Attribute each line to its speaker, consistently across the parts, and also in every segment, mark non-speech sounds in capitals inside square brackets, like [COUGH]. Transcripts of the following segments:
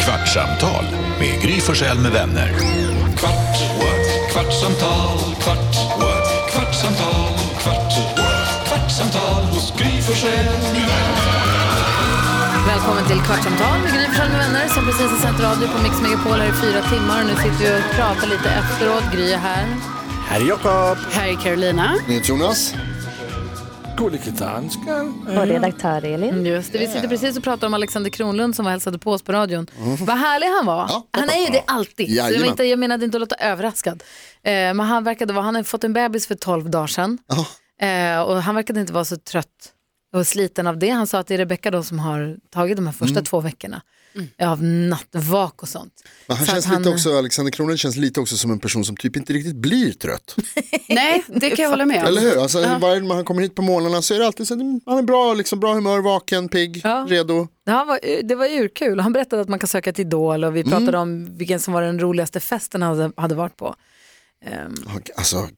Speaker 1: Kvartsamtal med Gry Forssell med vänner. Kvart, what? kvartsamtal, kvart, what? kvartsamtal, kvart, what? kvartsamtal hos Gry Forssell med vänner.
Speaker 2: Välkommen till Kvartsamtal med Gry Forssell med vänner som precis har sänt radio på Mix Megapol här i fyra timmar. Och nu sitter vi och pratar lite efteråt. Gry är här.
Speaker 3: Här är Jakob.
Speaker 2: Här är Carolina.
Speaker 4: Jonas.
Speaker 3: Gullige dansken.
Speaker 5: Och redaktör Elin.
Speaker 2: Mm, Just det, vi sitter precis och pratar om Alexander Kronlund som var och hälsade på oss på radion. Vad härlig han var.
Speaker 4: Ja,
Speaker 2: han är ju det alltid. Så jag, var
Speaker 4: Jajamän.
Speaker 2: inte, jag menade inte att låta överraskad. Eh, men han verkade vara, han har fått en bebis för 12 dagar sedan. Eh, och han verkade inte vara så trött och sliten av det. Han sa att det är Rebecka då som har tagit de här första
Speaker 4: Mm.
Speaker 2: två veckorna av nattvak och sånt.
Speaker 4: Men han
Speaker 2: Så att
Speaker 4: känns lite också, Alexander Kronen känns lite också som en person som typ inte riktigt blir
Speaker 2: [LAUGHS]
Speaker 4: trött.
Speaker 6: Nej, det kan jag hålla med
Speaker 4: Eller
Speaker 6: om.
Speaker 4: hur? Alltså, Varje gång han kommer hit på morgnarna så är det alltid så att han är bra, liksom, bra humör, vaken, pigg,
Speaker 2: Ja.
Speaker 4: redo.
Speaker 2: eh, Han var, det var urkul. Han berättade att man kan söka till Idol
Speaker 4: Mm.
Speaker 2: och vi pratade om vilken som var den roligaste festen han hade, hade varit på.
Speaker 4: Och, Alltså,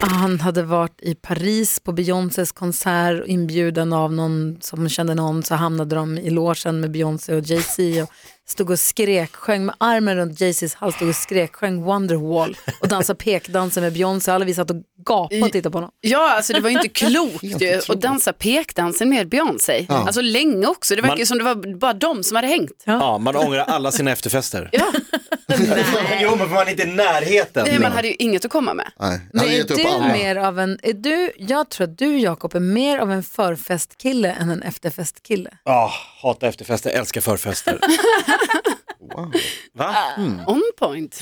Speaker 2: Han hade varit i Paris på Beyoncés konsert, inbjuden av någon som kände någon, så hamnade de i logen med Beyoncé och Jay-Z och stod och skrek, sjöng med armen runt Jay-Zs hals, stod och skrek, sjöng Wonderwall och dansade pekdansen med Beyoncé. Alla vi satt och gapade och tittade på honom.
Speaker 6: Ja, alltså det var ju inte klokt ju. Och dansa pekdansen med Beyoncé. Alltså länge också. Det verkar ju
Speaker 3: Man-
Speaker 6: som det var bara de som hade hängt.
Speaker 3: Ja, man ångrar alla sina efterfester.
Speaker 7: [LAUGHS] Jo, men för man är inte i närheten.
Speaker 6: Nej, man hade ju inget att komma med.
Speaker 4: nej, han
Speaker 2: Men
Speaker 4: har
Speaker 2: är
Speaker 4: gett upp
Speaker 2: du
Speaker 4: alla.
Speaker 2: mer av en, är du, jag tror att du Jakob är mer av en förfestkille än en efterfestkille.
Speaker 3: Ah, hata efterfester, älska förfester. Va?
Speaker 6: On point.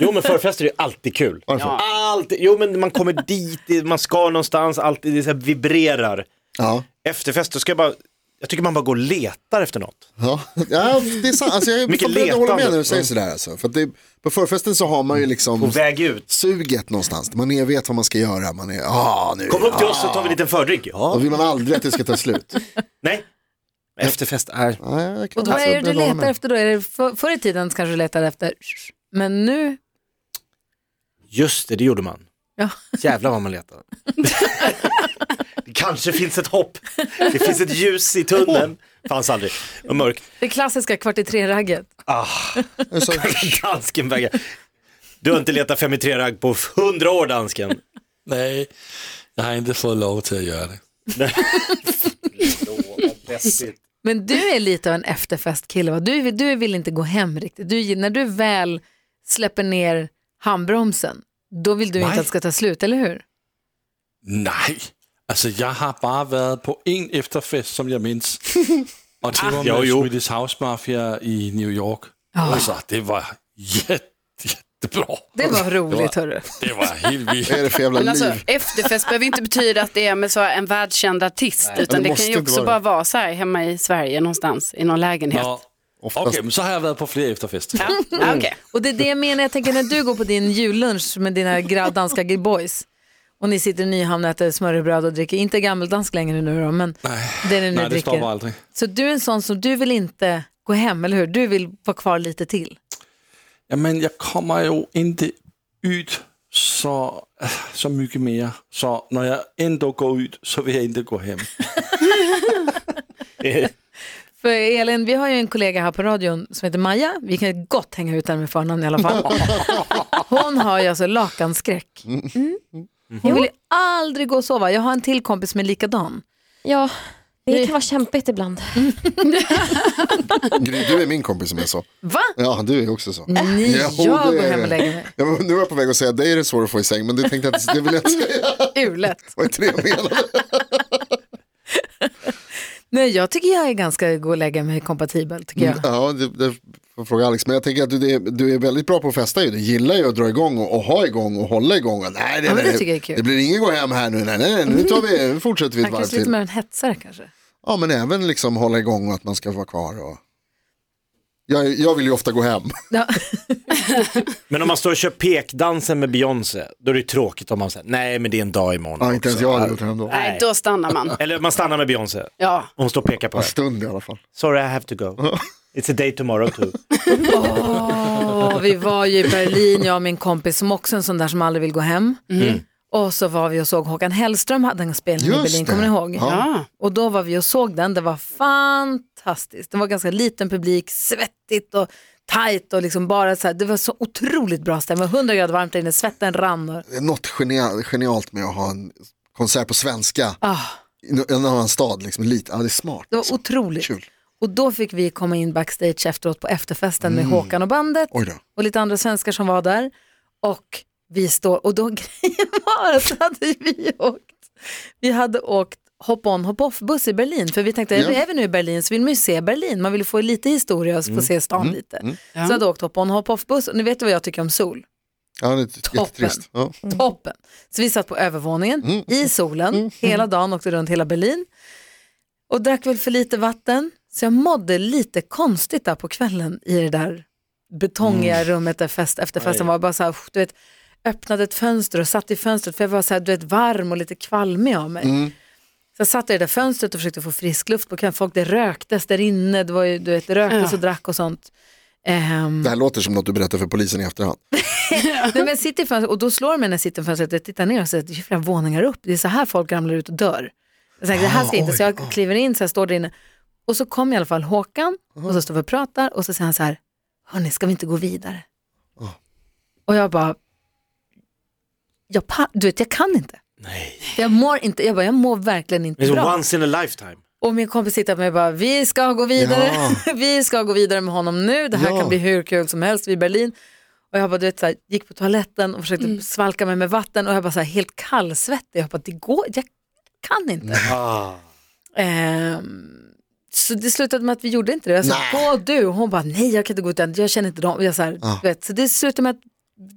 Speaker 3: Jo men förfester är ju alltid kul.
Speaker 4: Varför?
Speaker 3: Alltid. Jo men man kommer dit, det- man ska någonstans, alltid, det så här vibrerar.
Speaker 4: Ja.
Speaker 3: Efterfester ska jag bara, jag tycker man bara går och letar efter något.
Speaker 4: Ja. ja, det är sant. Alltså, jag är
Speaker 3: Mycket
Speaker 4: fan beredd att hålla med när
Speaker 3: letande. Mm.
Speaker 4: du säger sådär. Alltså. För att det, på förfesten så har man ju liksom
Speaker 7: Mm.
Speaker 3: Och väg ut.
Speaker 4: suget någonstans. Man är, vet vad man ska göra. Man är, ah, nu.
Speaker 3: Kom upp till oss så tar vi en liten fördrink.
Speaker 4: Då
Speaker 3: Ja.
Speaker 4: vill man aldrig att det ska ta slut. [LAUGHS]
Speaker 3: Nej. Efterfest är...
Speaker 4: Ja, jag kan
Speaker 2: Och då
Speaker 4: alltså
Speaker 2: är det du
Speaker 4: beredd att hålla
Speaker 2: letar
Speaker 4: med.
Speaker 2: efter då? Är det för, förr i tiden kanske du letade efter, men nu,
Speaker 3: Just det, det gjorde man.
Speaker 2: ja.
Speaker 3: Jävlar vad man letade. det [LAUGHS] kanske finns ett hopp. Det finns ett ljus i tunneln. Fanns aldrig. Och mörkt.
Speaker 2: det klassiska kvart i tre-ragget.
Speaker 4: Jag sa-
Speaker 3: [LAUGHS] Dansken vägrar. Du har inte letat fem i tre ragg på hundra år dansken.
Speaker 8: Nej, jag har inte fått lov till att göra det.
Speaker 2: Men du är lite av en efterfestkille, va? Du, du vill inte gå hem riktigt. Du, när du väl släpper ner handbromsen, då vill du inte att det ska ta slut, eller hur?
Speaker 8: Nej, alltså jag har bara varit på en efterfest som jag minns. Och det var
Speaker 3: jo,
Speaker 8: med
Speaker 3: jo.
Speaker 8: Swedish House Mafia i New York. Alltså, det var jätte, jättebra.
Speaker 2: Det var roligt,
Speaker 8: Det var,
Speaker 2: hörru.
Speaker 8: det var helt
Speaker 4: Vad är
Speaker 8: vilt.
Speaker 4: det för jävla
Speaker 6: Men alltså,
Speaker 4: liv?
Speaker 6: efterfest behöver inte betyda att det är med så här en världskänd artist.
Speaker 4: det
Speaker 6: Utan det,
Speaker 4: måste
Speaker 6: kan ju
Speaker 4: inte
Speaker 6: också
Speaker 4: vara
Speaker 6: bara
Speaker 4: det.
Speaker 6: vara så här hemma i Sverige någonstans i någon lägenhet.
Speaker 8: Nå, Okej,
Speaker 4: Oftast.
Speaker 8: men så har jag varit på fler efterfester.
Speaker 6: Ja, ja, okej.
Speaker 2: Och det är det jag menar, jag tänker när du går på din jullunch med dina gra- danska boys och ni sitter i Nyhamn och äter smörrebröd och dricker, inte gammeldansk längre nu då, men det ni nu
Speaker 8: Nej, det
Speaker 2: dricker.
Speaker 8: stavar aldrig.
Speaker 2: Så du är en sån som, du vill inte gå hem, eller hur? Du vill vara kvar lite till.
Speaker 8: Ja, men jag kommer ju inte ut så, så mycket mer. Så när jag ändå går ut så vill jag inte gå hem.
Speaker 2: För Elin, vi har ju en kollega här på radion som heter Maja. Vi kan ju gott hänga ut henne med förnamn i alla fall. Hon har ju alltså lakanskräck. Hon vill ju aldrig gå och sova. Jag har en till kompis som är likadan.
Speaker 5: Ja, det kan vara kämpigt ibland.
Speaker 4: Gry, du är min kompis som är så.
Speaker 2: Va?
Speaker 4: Ja, du är också så.
Speaker 2: Mm. Ni,
Speaker 4: Ja, och
Speaker 2: jag
Speaker 4: det
Speaker 2: går
Speaker 4: är
Speaker 2: hem
Speaker 4: det.
Speaker 2: och lägger mig.
Speaker 4: Ja, men nu var jag på väg att säga dig är det svårt att få i säng, men det tänkte jag inte, det vill jag inte [LAUGHS] säga.
Speaker 2: Urlätt.
Speaker 4: Vad är det jag menade?
Speaker 2: Nej, jag tycker jag är ganska gå och lägga mig kompatibel, tycker jag.
Speaker 4: Ja, det, det får jag fråga Alex. Men jag tänker att du, det, du är väldigt bra på att festa ju. Du gillar ju att dra igång och, och ha igång och hålla igång. Och, nej, det,
Speaker 2: Ja, men det
Speaker 4: nej,
Speaker 2: tycker jag är kul. Mm.
Speaker 4: det blir ingen gå hem här nu. Nej, nej, nej, nu, tar vi, nu fortsätter vi ett
Speaker 2: Han
Speaker 4: varv
Speaker 2: kanske lite
Speaker 4: till.
Speaker 2: mer en hetsare kanske.
Speaker 4: Ja, men även liksom hålla igång och att man ska vara kvar. Och... Jag, jag vill ju ofta gå hem.
Speaker 2: Ja.
Speaker 3: [LAUGHS] Men om man står och kör pekdansen med Beyoncé, då är det ju tråkigt om man säger nej men det är en dag imorgon.
Speaker 4: Ja, inte ens
Speaker 3: också."
Speaker 4: jag hade gjort det ändå.
Speaker 6: Nej, då stannar man.
Speaker 3: Eller man stannar med Beyoncé.
Speaker 6: Ja.
Speaker 3: Hon står och pekar på
Speaker 4: En
Speaker 3: dig.
Speaker 4: stund i alla fall.
Speaker 3: Sorry I have to go. It's a day tomorrow [LAUGHS] too.
Speaker 2: Åh, vi var ju i Berlin, jag och min kompis som också är en sån där som aldrig vill gå hem. Och så var vi och såg Håkan Hellström hade en spelning i
Speaker 4: Mm. Just
Speaker 2: Berlin,
Speaker 4: det.
Speaker 2: kommer ni ihåg?
Speaker 4: Ja.
Speaker 6: Ja.
Speaker 2: Och då var vi och såg den, det var fantastiskt. Det var ganska liten publik, svettigt och tajt och liksom bara så här, det var så otroligt bra stämning, Det var 100 grader varmt där inne, svetten rann. Och,
Speaker 4: Det är något genial, genialt med att ha en konsert på svenska
Speaker 2: ah,
Speaker 4: i en annan stad. Liksom, lite. Ja, det är smart.
Speaker 2: det var
Speaker 4: alltså.
Speaker 2: otroligt.
Speaker 4: Kul.
Speaker 2: Och då fick vi komma in backstage efteråt på efterfesten
Speaker 4: Mm.
Speaker 2: med Håkan och bandet
Speaker 4: Oj då.
Speaker 2: och lite andra svenskar som var där. Och vi står, och då [LAUGHS] grejen var att så hade vi åkt, vi hade åkt hop-on hop-off buss i Berlin. För vi tänkte,
Speaker 4: Ja.
Speaker 2: är vi nu i Berlin så vill man ju se Berlin. Man vill få lite historia och få se stan lite. Så jag hade åkt hop-on hop-off buss. Och ni vet ju vad jag tycker om sol.
Speaker 4: Ja, det är jättetrist.
Speaker 2: Mm.
Speaker 4: Ja.
Speaker 2: Toppen. Så vi satt på övervåningen i solen hela dagen, åkte runt hela Berlin och drack väl för lite vatten. Så jag mådde lite konstigt där på kvällen i det där betongiga rummet där fest, efter festen var. Jag Bara så här, du vet, öppnade ett fönster och satt i fönstret för jag var så här, du vet, varm och lite kvalmig av mig. Så jag satt i det där fönstret och försökte få frisk luft på kvällen. Folk, det röktes där inne, det var ju, du vet, det röktes och drack och sånt. Ehm,
Speaker 4: Det här låter som något du berättar för polisen i efterhand.
Speaker 2: [LAUGHS] Nej, men jag sitter i fönstret, och då slår det mig när jag sitter i fönstret, jag tittar ner och ser att det är flera våningar upp, det är så här folk ramlar ut och dör. Jag tänker, det här ska jag inte, så jag kliver in, så jag står där inne. Och så kom i alla fall Håkan, och så står vi och pratar, och så säger han så här, hörni, ska vi inte gå vidare? Och jag bara, jag, pa- du vet, jag kan inte. Jag mår inte, jag bara, jag mår verkligen
Speaker 3: Det är
Speaker 2: inte
Speaker 3: så
Speaker 2: bra.
Speaker 3: once in a lifetime.
Speaker 2: Och min kompis tittar på mig och bara, vi ska gå vidare, [LAUGHS] vi ska gå vidare med honom nu, det här
Speaker 4: Ja.
Speaker 2: kan bli hur kul som helst, vi är i Berlin. Och jag bara, du vet, så här, gick på toaletten och försökte svalka mig med vatten och jag bara så här, helt kallsvettig, jag bara, det går, jag kan inte.
Speaker 3: Ah.
Speaker 2: Ehm, så det slutade med att vi gjorde inte det. Jag sa, gå du, och hon bara, nej jag kan inte gå ut än, jag känner inte dem. Och Jag så, här, du vet, så det slutade med att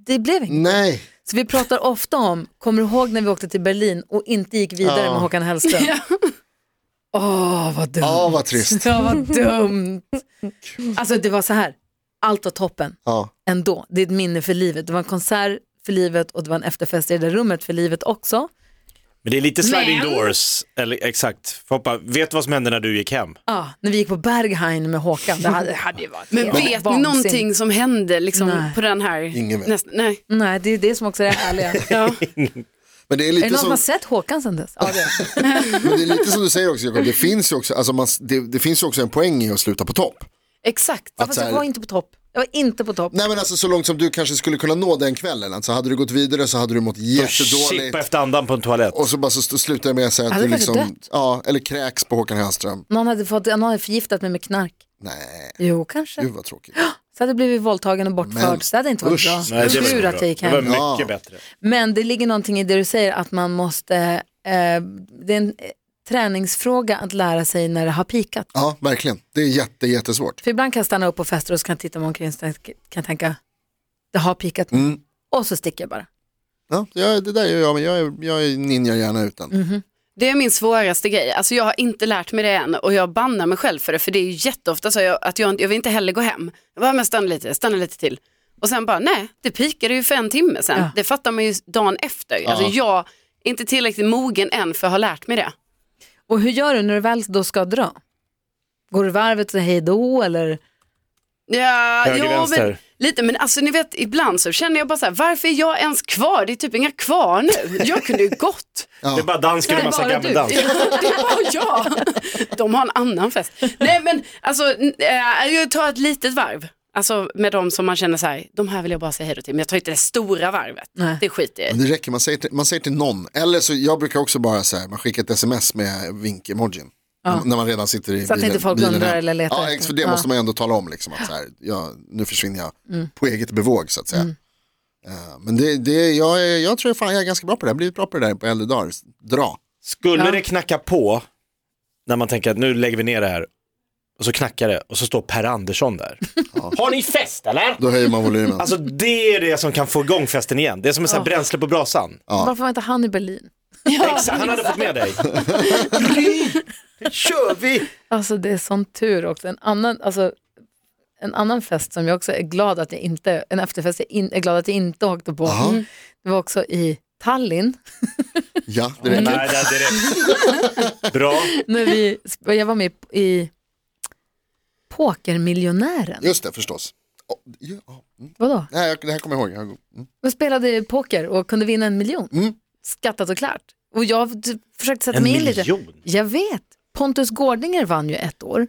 Speaker 2: det blev inget.
Speaker 4: Nej,
Speaker 2: Så vi pratar ofta om, kommer du ihåg när vi åkte till Berlin och inte gick vidare med Håkan Hellström? Åh, vad dumt.
Speaker 4: ja vad trist.
Speaker 2: Ja, vad dumt. Alltså det var så här, allt var toppen
Speaker 4: Ja.
Speaker 2: ändå. Det är ett minne för livet. Det var en konsert för livet och det var en efterfest i det där rummet för livet också.
Speaker 3: Men det är lite sliding doors. Eller exakt. Får hoppa. Vet du vad som hände när du gick hem?
Speaker 2: Ja, när vi gick på Berghain med Håkan, det
Speaker 4: [LAUGHS]
Speaker 2: hade, det hade ju varit
Speaker 6: Men
Speaker 2: helt
Speaker 6: vet ni
Speaker 2: vansinnigt.
Speaker 6: någonting som hände liksom,
Speaker 2: Nej.
Speaker 6: på den här?
Speaker 4: Ingen vet.
Speaker 6: Nästa, nej.
Speaker 2: Nej, det är det som också är det
Speaker 4: [LAUGHS]
Speaker 2: härliga.
Speaker 6: Ja.
Speaker 4: Men det är
Speaker 2: Är det
Speaker 4: lite
Speaker 2: någon som
Speaker 4: som...
Speaker 2: har sett Håkan sen dess? Ja, det är det.
Speaker 4: Men det är lite som du säger också Jakob, det finns ju också, alltså man, det, det finns ju också en poäng i att sluta på topp.
Speaker 6: Exakt.
Speaker 2: Ja, fast
Speaker 4: så
Speaker 2: jag
Speaker 4: här-
Speaker 2: var inte på topp. Jag var inte på topp.
Speaker 4: Nej men alltså så långt som du kanske skulle kunna nå den kvällen, alltså hade du gått vidare Ah, så hade du mått jättedåligt.
Speaker 3: Chippa efter andan på en toalett.
Speaker 4: Och så bara så st- slutar jag med att säga att
Speaker 2: Hade
Speaker 4: du
Speaker 2: kanske
Speaker 4: liksom,
Speaker 2: dött.
Speaker 4: ja, eller kräks på Håkan Hellström.
Speaker 2: Någon hade, fått, någon hade förgiftat mig med knark.
Speaker 4: Nej,
Speaker 2: Jo, kanske.
Speaker 4: gud vad tråkigt.
Speaker 2: Så hade jag blivit våldtagen och bortförd.
Speaker 4: Men-
Speaker 2: Så det hade inte varit
Speaker 4: Usch.
Speaker 2: bra.
Speaker 3: Nej, det var,
Speaker 2: Tur
Speaker 3: inte
Speaker 2: att jag
Speaker 3: bra.
Speaker 2: gick
Speaker 3: det var
Speaker 2: hem.
Speaker 3: mycket
Speaker 4: Ja.
Speaker 3: bättre.
Speaker 2: Men det ligger någonting i det du säger att man måste, eh, det är en eh, träningsfråga att lära sig när det har pikat.
Speaker 4: Ja, verkligen. Det är jätte, jättesvårt.
Speaker 2: För ibland kan jag stanna upp på fester och så kan jag titta mig omkring och så kan jag tänka, det har pikat nu.
Speaker 4: Mm.
Speaker 2: Och så sticker jag bara.
Speaker 4: Ja, ja, det där gör jag, men jag är, jag är ninja gärna utan.
Speaker 2: Mhm.
Speaker 6: Det är min svåraste grej. Alltså jag har inte lärt mig det än och jag bannar mig själv för det. För det är ju jätteofta så jag, att jag, inte- jag vill inte heller gå hem. Jag bara, men stanna lite, stanna lite till. Och sen bara, nej, det pikade ju för en timme sen.
Speaker 2: Ja.
Speaker 6: Det fattar man ju dagen efter. Alltså jag är inte tillräckligt mogen än för att ha lärt mig det.
Speaker 2: Och hur gör du när du väl då ska dra? Går du varvet och säger hej då eller?
Speaker 6: Ja,
Speaker 3: Höger,
Speaker 6: jo, men,
Speaker 3: vänster.
Speaker 6: lite, men alltså ni vet ibland så känner jag bara så här, varför är jag ens kvar? Det är typ inga kvar nu. Jag kunde ju gått.
Speaker 3: Det är bara dansken och
Speaker 2: Nej,
Speaker 3: massa
Speaker 2: bara du.
Speaker 3: gammeldans.
Speaker 6: [LAUGHS] Det är bara jag. De har en annan fest. Nej men alltså, n- eh, jag tar ett litet varv. Alltså med de som man känner så här, de här vill jag bara säga hej då till. Men jag tar inte det stora varvet.
Speaker 2: Nej.
Speaker 6: Det skiter jag i.
Speaker 4: Men det räcker, man säger, till, man säger till någon. Eller så, jag brukar också bara så här, man skickar ett sms med vink-emojin. När- När man redan sitter i
Speaker 2: Så att inte folk
Speaker 4: bilen
Speaker 2: undrar
Speaker 4: hem.
Speaker 2: eller letar
Speaker 4: Ja,
Speaker 2: efter.
Speaker 4: ex, för det
Speaker 2: Ja. Mm.
Speaker 4: måste man ju ändå tala om, liksom, att så här, ja, nu försvinner jag på eget bevåg så att säga. Eh, men det, det, jag, är, jag tror fan jag är ganska bra på det, jag har blivit bra på det där på äldre dagar. Dra.
Speaker 3: Skulle det knacka på när man tänker att nu lägger vi ner det här och så knackar det och så står Per Andersson där. Har ni fest eller?
Speaker 4: Då höjer
Speaker 2: [LAUGHS]
Speaker 4: man volymen.
Speaker 3: Alltså det är det som kan få igång festen igen. Det är som en sån här bränsle på brasan.
Speaker 2: Varför var inte han i Berlin?
Speaker 3: Exakt, han hade fått med dig. Nu kör vi!
Speaker 2: Alltså det är sån tur också. En annan, alltså, en annan fest som jag också är glad att jag inte, en efterfest jag in, är glad att jag inte åkte på.
Speaker 4: Jaha.
Speaker 2: Mm. Det var också i Tallinn,
Speaker 4: ja, det
Speaker 3: Nej,
Speaker 2: Mm.
Speaker 4: räcker.
Speaker 3: nej, det är det. Bra.
Speaker 2: när vi, jag var med i Pokermiljonären.
Speaker 4: Just det, förstås. Oh, ja, ja.
Speaker 2: Vadå?
Speaker 4: Nej, jag, det här kommer jag ihåg. Jag- mm.
Speaker 2: Vi spelade poker och kunde vinna en miljon. skattat och klart. Och jag d- försökte sätta
Speaker 3: En
Speaker 2: mig in lite.
Speaker 3: miljon?
Speaker 2: Jag vet. Pontus Gårdinger vann ju ett år.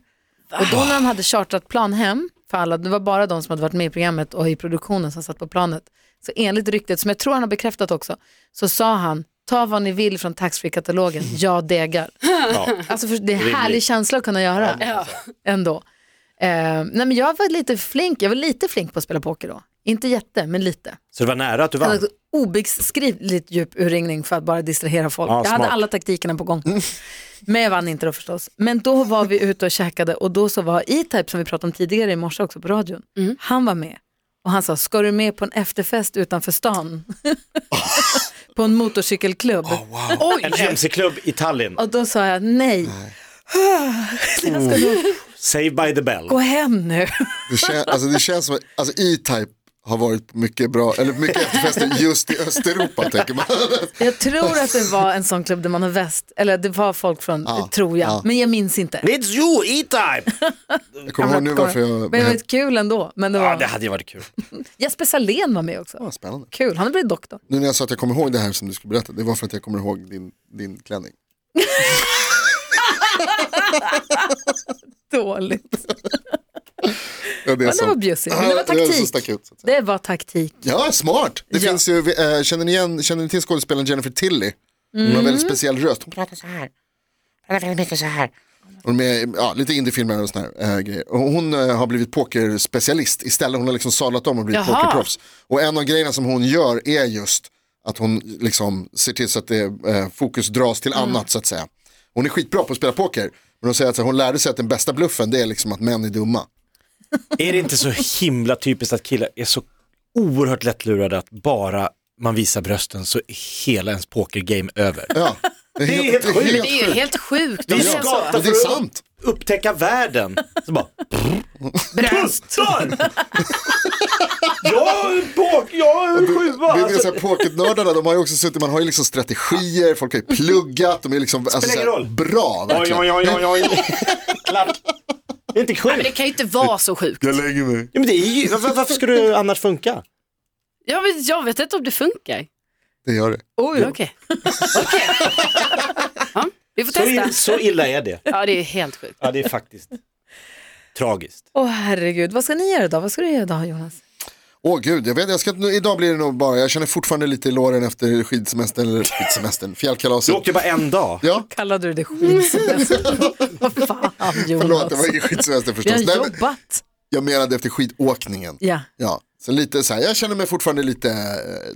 Speaker 2: Och då när de hade chartrat plan hem för alla, det var bara de som hade varit med i programmet och i produktionen som satt på planet. Så enligt ryktet, som jag tror han har bekräftat också, så sa han ta vad ni vill från taxfree-katalogen, jag degar. Alltså för det är en härlig känsla att kunna göra ändå. Eh, nej men jag var lite flink, jag var lite flink på att spela poker då. Inte jätte, men lite.
Speaker 3: Så det var nära att du
Speaker 2: Jag
Speaker 3: vann.
Speaker 2: hade också obeskrivligt djup urringning för att bara distrahera folk.
Speaker 3: Ja,
Speaker 2: jag hade
Speaker 3: smart.
Speaker 2: alla taktikerna på gång. Men jag vann inte då förstås. Men då var vi ute och käkade och då så var E-Type som vi pratade om tidigare i morse också på radion. Han var med och han sa, ska du med på en efterfest utanför stan? på en motorcykelklubb.
Speaker 3: En MC-klubb i Tallinn,
Speaker 2: Och då sa jag nej, [LAUGHS]
Speaker 3: Save by the Bell.
Speaker 2: gå hem nu.
Speaker 4: Det, kän, alltså det känns som att alltså, E-Type har varit på mycket bra, eller mycket efterfester just i Östeuropa tänker man.
Speaker 2: Jag tror att det var en sån klubb där man har väst, eller det var folk från,
Speaker 4: Ja,
Speaker 2: tror jag,
Speaker 4: ja.
Speaker 2: men jag minns inte.
Speaker 3: It's you, E-Type!
Speaker 4: Jag kommer ihåg nu varför jag...
Speaker 2: Men det var kul ändå. Men det var...
Speaker 3: Ja, det hade ju varit kul.
Speaker 2: Jesper Salén var med också.
Speaker 4: Ja, spännande.
Speaker 2: Kul, han har blivit doktor.
Speaker 4: Nu när jag sa att jag kommer ihåg det här som du skulle berätta, det var för att jag kommer ihåg din, din klänning.
Speaker 2: Dåligt.
Speaker 4: Ja, det,
Speaker 2: Men det var bjussigt. Men det var
Speaker 4: som
Speaker 2: taktik.
Speaker 4: stack ut, så att säga.
Speaker 2: Det var taktik.
Speaker 4: Ja, smart. Det
Speaker 2: Ja.
Speaker 4: finns ju, eh, känner, ni igen, känner ni till skådespelaren Jennifer Tilly? Hon har en
Speaker 2: Mm.
Speaker 4: väldigt speciell röst. Hon pratar så här. Hon pratar väldigt mycket så här. Hon är med, ja, lite indiefilmer och såna här eh, grejer. Och hon eh, har blivit pokerspecialist istället. Hon har liksom sadlat om och blivit
Speaker 6: Jaha.
Speaker 4: pokerproffs. Och en av grejerna som hon gör är just att hon liksom ser till så att det, eh, fokus dras till
Speaker 3: Mm.
Speaker 4: annat så att säga. Hon är skitbra på att spela poker. Men hon säger att så här, hon lärde sig att den bästa bluffen det är liksom att män är dumma.
Speaker 3: Är det inte så himla typiskt att killar är så oerhört lättlurade att bara man visar brösten så är hela ens pokergame över? [LAUGHS]
Speaker 4: Ja. Det är
Speaker 3: helt sjukt.
Speaker 6: Det är ju helt sjukt om
Speaker 3: Vi
Speaker 6: det är så.
Speaker 3: skapar
Speaker 4: Men det är
Speaker 3: för att
Speaker 4: sant.
Speaker 3: upptäcka världen. Så bara, bröstar! [LAUGHS] jag är bak, jag är en sjua.
Speaker 4: Det är det
Speaker 3: Alltså,
Speaker 4: så här, pocketnördarna, de har ju också suttit, man har ju liksom strategier, folk har ju pluggat, de är liksom alltså, så
Speaker 3: ingen
Speaker 4: här,
Speaker 3: roll.
Speaker 4: bra
Speaker 3: oj,
Speaker 4: verkligen.
Speaker 3: oj, oj, oj, oj. [LAUGHS] Klart. Det är inte
Speaker 6: Men
Speaker 3: sjukt.
Speaker 6: det kan ju inte vara så sjukt.
Speaker 4: Jag lägger mig.
Speaker 3: Ja, men det är ju, varför, varför ska du annars funka?
Speaker 6: Jag vet, jag vet inte om det funkar.
Speaker 4: Det gör det.
Speaker 6: Oj, okej. Okej. Ja, vi får
Speaker 3: Så, i-
Speaker 6: testa.
Speaker 3: så illa är det.
Speaker 6: Ja, det är helt sjukt.
Speaker 3: Ja, det är faktiskt tragiskt.
Speaker 2: Åh herregud, vad ska ni göra idag? Vad ska du göra idag Jonas?
Speaker 4: Åh gud, jag vet, jag ska, nu, idag blir det nog bara, jag känner fortfarande lite i låren efter skidsemestern, eller skidsemestern,
Speaker 3: Du
Speaker 4: fjällkalaset.
Speaker 3: åkte ju bara en dag.
Speaker 4: Ja,
Speaker 2: Kallade du det [LAUGHS] skidsemester? vad fan
Speaker 4: förlåt,
Speaker 2: Jonas?
Speaker 4: det var ingen skidsemester
Speaker 2: Vi
Speaker 4: förstås.
Speaker 2: har
Speaker 4: Nej, men
Speaker 2: jobbat.
Speaker 4: jag menade efter skidåkningen.
Speaker 2: Ja.
Speaker 4: Ja, så lite så här, jag känner mig fortfarande lite, eh,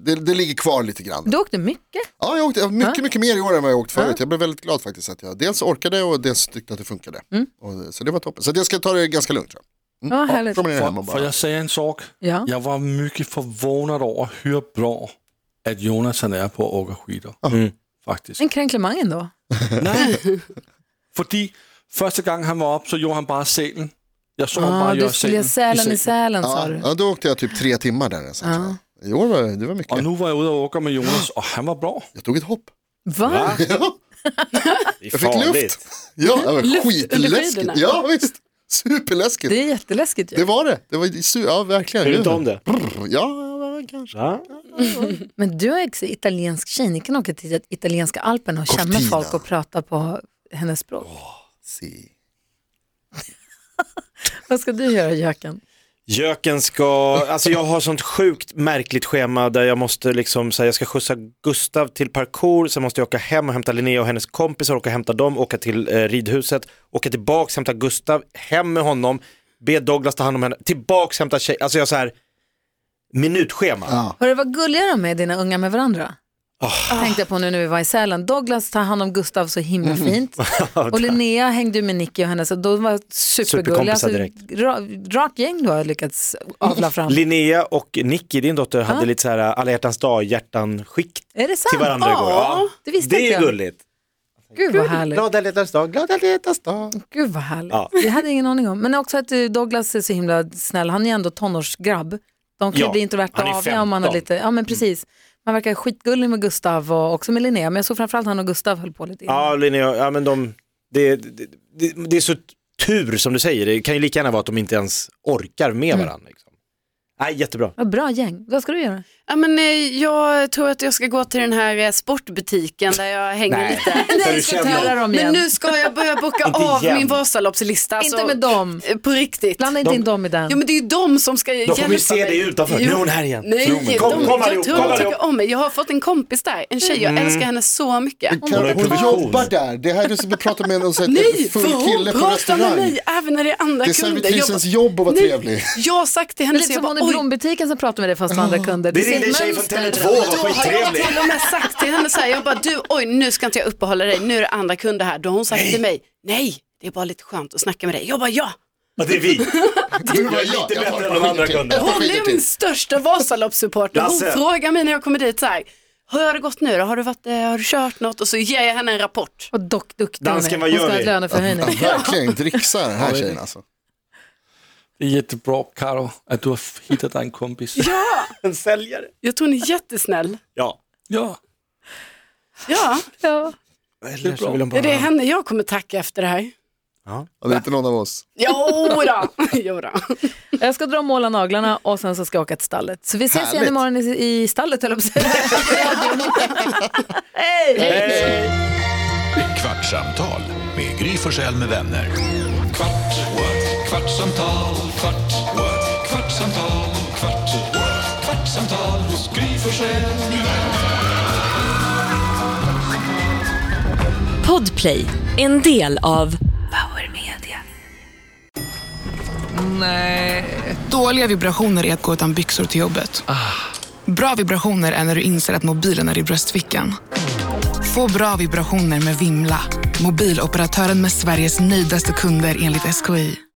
Speaker 4: det, det ligger kvar lite grann.
Speaker 2: Du åkte mycket.
Speaker 4: Ja, jag åkte mycket, mycket mer i år än vad jag åkt förut. Jag blev väldigt glad faktiskt att jag dels orkade och dels tyckte att det funkade.
Speaker 2: Mm.
Speaker 4: Och, eh, så det var toppen. Så jag ska ta det ganska lugnt tror jag.
Speaker 2: Ja, härligt.
Speaker 4: Promenera hem Mm, och
Speaker 8: För, för
Speaker 4: bara.
Speaker 8: jag säger en sak.
Speaker 2: Ja.
Speaker 8: Jag var mycket förvånad över hur bra att Jonathan är på att åka skidor. Faktiskt.
Speaker 2: En kränklemang ändå.
Speaker 8: Nej. Fordi första gången han var upp så gjorde han bara selen. Jag såg honom
Speaker 2: Ah,
Speaker 8: bara
Speaker 2: du
Speaker 8: göra
Speaker 2: skulle göra
Speaker 8: selen.
Speaker 2: Sälen i Sälen sa
Speaker 4: Ja,
Speaker 2: du.
Speaker 4: ja, då åkte jag typ tre timmar där. Så.
Speaker 2: Ja.
Speaker 4: I år var det det var
Speaker 8: Och
Speaker 4: mycket.
Speaker 8: nu var jag ute och åka med Jonas och han var bra.
Speaker 4: Jag tog ett
Speaker 8: [LAUGHS]
Speaker 4: hopp.
Speaker 2: Va?
Speaker 4: Ja,
Speaker 3: Det är
Speaker 4: jag fick luft. Ja, det var skitläskigt.
Speaker 6: skidorna.
Speaker 4: Ja, visst. Superläskigt.
Speaker 2: Det
Speaker 4: Det,
Speaker 2: är jätteläskigt ju.
Speaker 4: var det. Det var su- ja, verkligen.
Speaker 3: Tycker du inte om det?
Speaker 4: Ja, kanske.
Speaker 3: Ja.
Speaker 2: Men du är också italiensk tjej, ni kan åka till italienska alperna och känna
Speaker 4: Cortina.
Speaker 2: folk och prata på hennes språk.
Speaker 4: Si.
Speaker 2: Vad ska du göra Jöken?
Speaker 3: Göken ska, alltså jag har sånt sjukt märkligt schema där jag måste liksom, så här, jag ska skjutsa Gustav till parkour, sen måste jag åka hem och hämta Linnea och hennes kompisar, åka och hämta dem, åka till eh, ridhuset, åka tillbaks, hämta Gustav, hem med honom, be Douglas ta hand om henne, tillbaks, hämta tjej, alltså jag har så här minutschema.
Speaker 4: Ja.
Speaker 2: Hörru, vad gulliga de är dina unga med varandra.
Speaker 3: Ah.
Speaker 2: Tänkte jag på nu när vi var i Sälen. Douglas tar hand om Gustav så himla
Speaker 3: Mm. [LAUGHS]
Speaker 2: fint. Och Linnea hängde ju med Nicky och hennes, och de var supergulliga.
Speaker 3: Superkompisar
Speaker 2: Alltså, ra, rakt gäng du har lyckats avla fram.
Speaker 3: Linnea och Nicky, din dotter, hade lite så här äh, alla hjärtans dag, hjärtan-skick
Speaker 2: Är det sant?
Speaker 3: till varandra igår. Ja.
Speaker 2: Det visste
Speaker 3: det
Speaker 2: inte
Speaker 3: är
Speaker 2: jag.
Speaker 3: gulligt.
Speaker 2: Gud vad härligt.
Speaker 3: Glad alla hjärtans dag, glad alla hjärtans dag.
Speaker 2: Gud vad härligt.
Speaker 3: Ja.
Speaker 2: Det hade jag ingen aning om. Men också att eh, Douglas är så himla snäll. Han är ju ändå tonårsgrabb. De kan ju
Speaker 3: Ja,
Speaker 2: bli introverta
Speaker 3: han är
Speaker 2: av det om man har
Speaker 3: 15.
Speaker 2: lite, ja men precis. Man verkar skitgullig med Gustav och också med Linnea. Men jag såg framförallt han och Gustav höll på lite innan.
Speaker 3: Ja, Linnea, ja men de, det, det, det, det är så tur som du säger, det kan ju
Speaker 2: Mm.
Speaker 3: lika gärna vara att de inte ens orkar med varandra. Liksom. Nej, jättebra.
Speaker 2: Vad bra gäng. Vad ska du göra?
Speaker 6: Ja, men, eh, jag tror att jag ska gå till den här eh, sportbutiken där jag hänger lite.
Speaker 2: Nej,
Speaker 7: du
Speaker 2: vi ska
Speaker 7: känner-
Speaker 2: tävla dem igen.
Speaker 6: Men nu ska jag börja
Speaker 2: [LAUGHS]
Speaker 6: boka
Speaker 7: Inte
Speaker 6: av
Speaker 7: igen.
Speaker 6: min Vasaloppslista.
Speaker 2: Inte med dem.
Speaker 6: eh, På riktigt.
Speaker 2: Blanda inte in dem i den.
Speaker 6: Jo men det är ju de som ska
Speaker 7: Då
Speaker 6: hjälpa
Speaker 7: får vi se dig utanför. Nu är hon här igen. Tro mig.
Speaker 6: Nej,
Speaker 7: Kom,
Speaker 6: de,
Speaker 7: kom
Speaker 6: jag
Speaker 7: allihop,
Speaker 6: tror
Speaker 7: kom
Speaker 6: de
Speaker 7: allihop. Mm.
Speaker 6: tycker om mig. Jag har fått en kompis där, en tjej. Jag älskar henne så mycket.
Speaker 4: Kan,
Speaker 7: har ju
Speaker 4: hon
Speaker 7: provision.
Speaker 4: jobbar där. Det här är som att prata med en så här,
Speaker 6: Nej, för
Speaker 4: full kille
Speaker 6: hon
Speaker 4: på
Speaker 6: pratar med
Speaker 4: restaurang.
Speaker 6: mig även när det är andra
Speaker 4: Det är
Speaker 6: kunder. Jag,
Speaker 4: servitrisens jobb att vara [LAUGHS] trevlig.
Speaker 6: jag har sagt
Speaker 2: Det är
Speaker 6: till henne, så
Speaker 2: lite
Speaker 6: jag
Speaker 2: som hon
Speaker 6: bara,
Speaker 2: i
Speaker 6: oj,
Speaker 2: blombutiken som pratar med dig fast med andra kunder.
Speaker 7: Det
Speaker 2: Du
Speaker 7: ringde
Speaker 2: ser
Speaker 7: en tjej
Speaker 2: ett
Speaker 7: från
Speaker 2: mönster.
Speaker 7: Tele2, var skittrevlig.
Speaker 6: till och med sagt till henne så här, jag bara, du, oj, nu ska inte jag uppehålla dig, nu är det andra kunder här. Då har hon sagt till mig, nej, det är bara lite skönt att snacka med dig. Jag bara, ja,
Speaker 7: Ja, det är vi.
Speaker 4: Du var
Speaker 7: Lite bättre än de andra kunderna.
Speaker 6: hon är min största Vasaloppssupporter. Hon
Speaker 7: Lasse.
Speaker 6: frågar mig när jag kommer dit så här, hur har det gått nu då? Har du, varit, eh, har du kört något? Och så ger jag henne en rapport.
Speaker 2: Och dock duktig hon
Speaker 7: Dansken,
Speaker 2: är.
Speaker 7: vad
Speaker 2: Hon
Speaker 7: gör
Speaker 2: ska ha
Speaker 7: vi?
Speaker 2: ett löneförhöjning.
Speaker 4: Verkligen, dricksar den här tjejen alltså.
Speaker 8: Det är jättebra, Karo, att du har hittat dig en kompis.
Speaker 6: Ja,
Speaker 7: En säljare.
Speaker 6: jag tror hon är jättesnäll.
Speaker 7: Ja.
Speaker 8: Ja,
Speaker 6: Ja,
Speaker 2: Ja.
Speaker 8: det är bra.
Speaker 6: det är henne jag kommer tacka efter det här.
Speaker 4: Ja, det är inte någon av oss.
Speaker 6: Jo då. [LAUGHS] Jo då.
Speaker 2: Jag ska dra och måla naglarna och sen så ska jag åka till stallet. Så vi ses igen
Speaker 4: Härligt.
Speaker 2: imorgon i, i stallet höll jag på
Speaker 9: [LAUGHS]
Speaker 2: att säga. Hej!
Speaker 1: Kvartsamtal med Gry Forssell med vänner. Kvart, what? kvartsamtal, kvart, what? kvartsamtal, kvart, what? kvartsamtal hos Gry Forssell med vänner.
Speaker 9: Podplay, en del av Power Media.
Speaker 10: Dåliga vibrationer är att gå utan byxor till jobbet. Bra vibrationer är när du inser att mobilen är i bröstfickan. Få bra vibrationer med Vimla. Mobiloperatören med Sveriges nöjdaste kunder enligt SKI.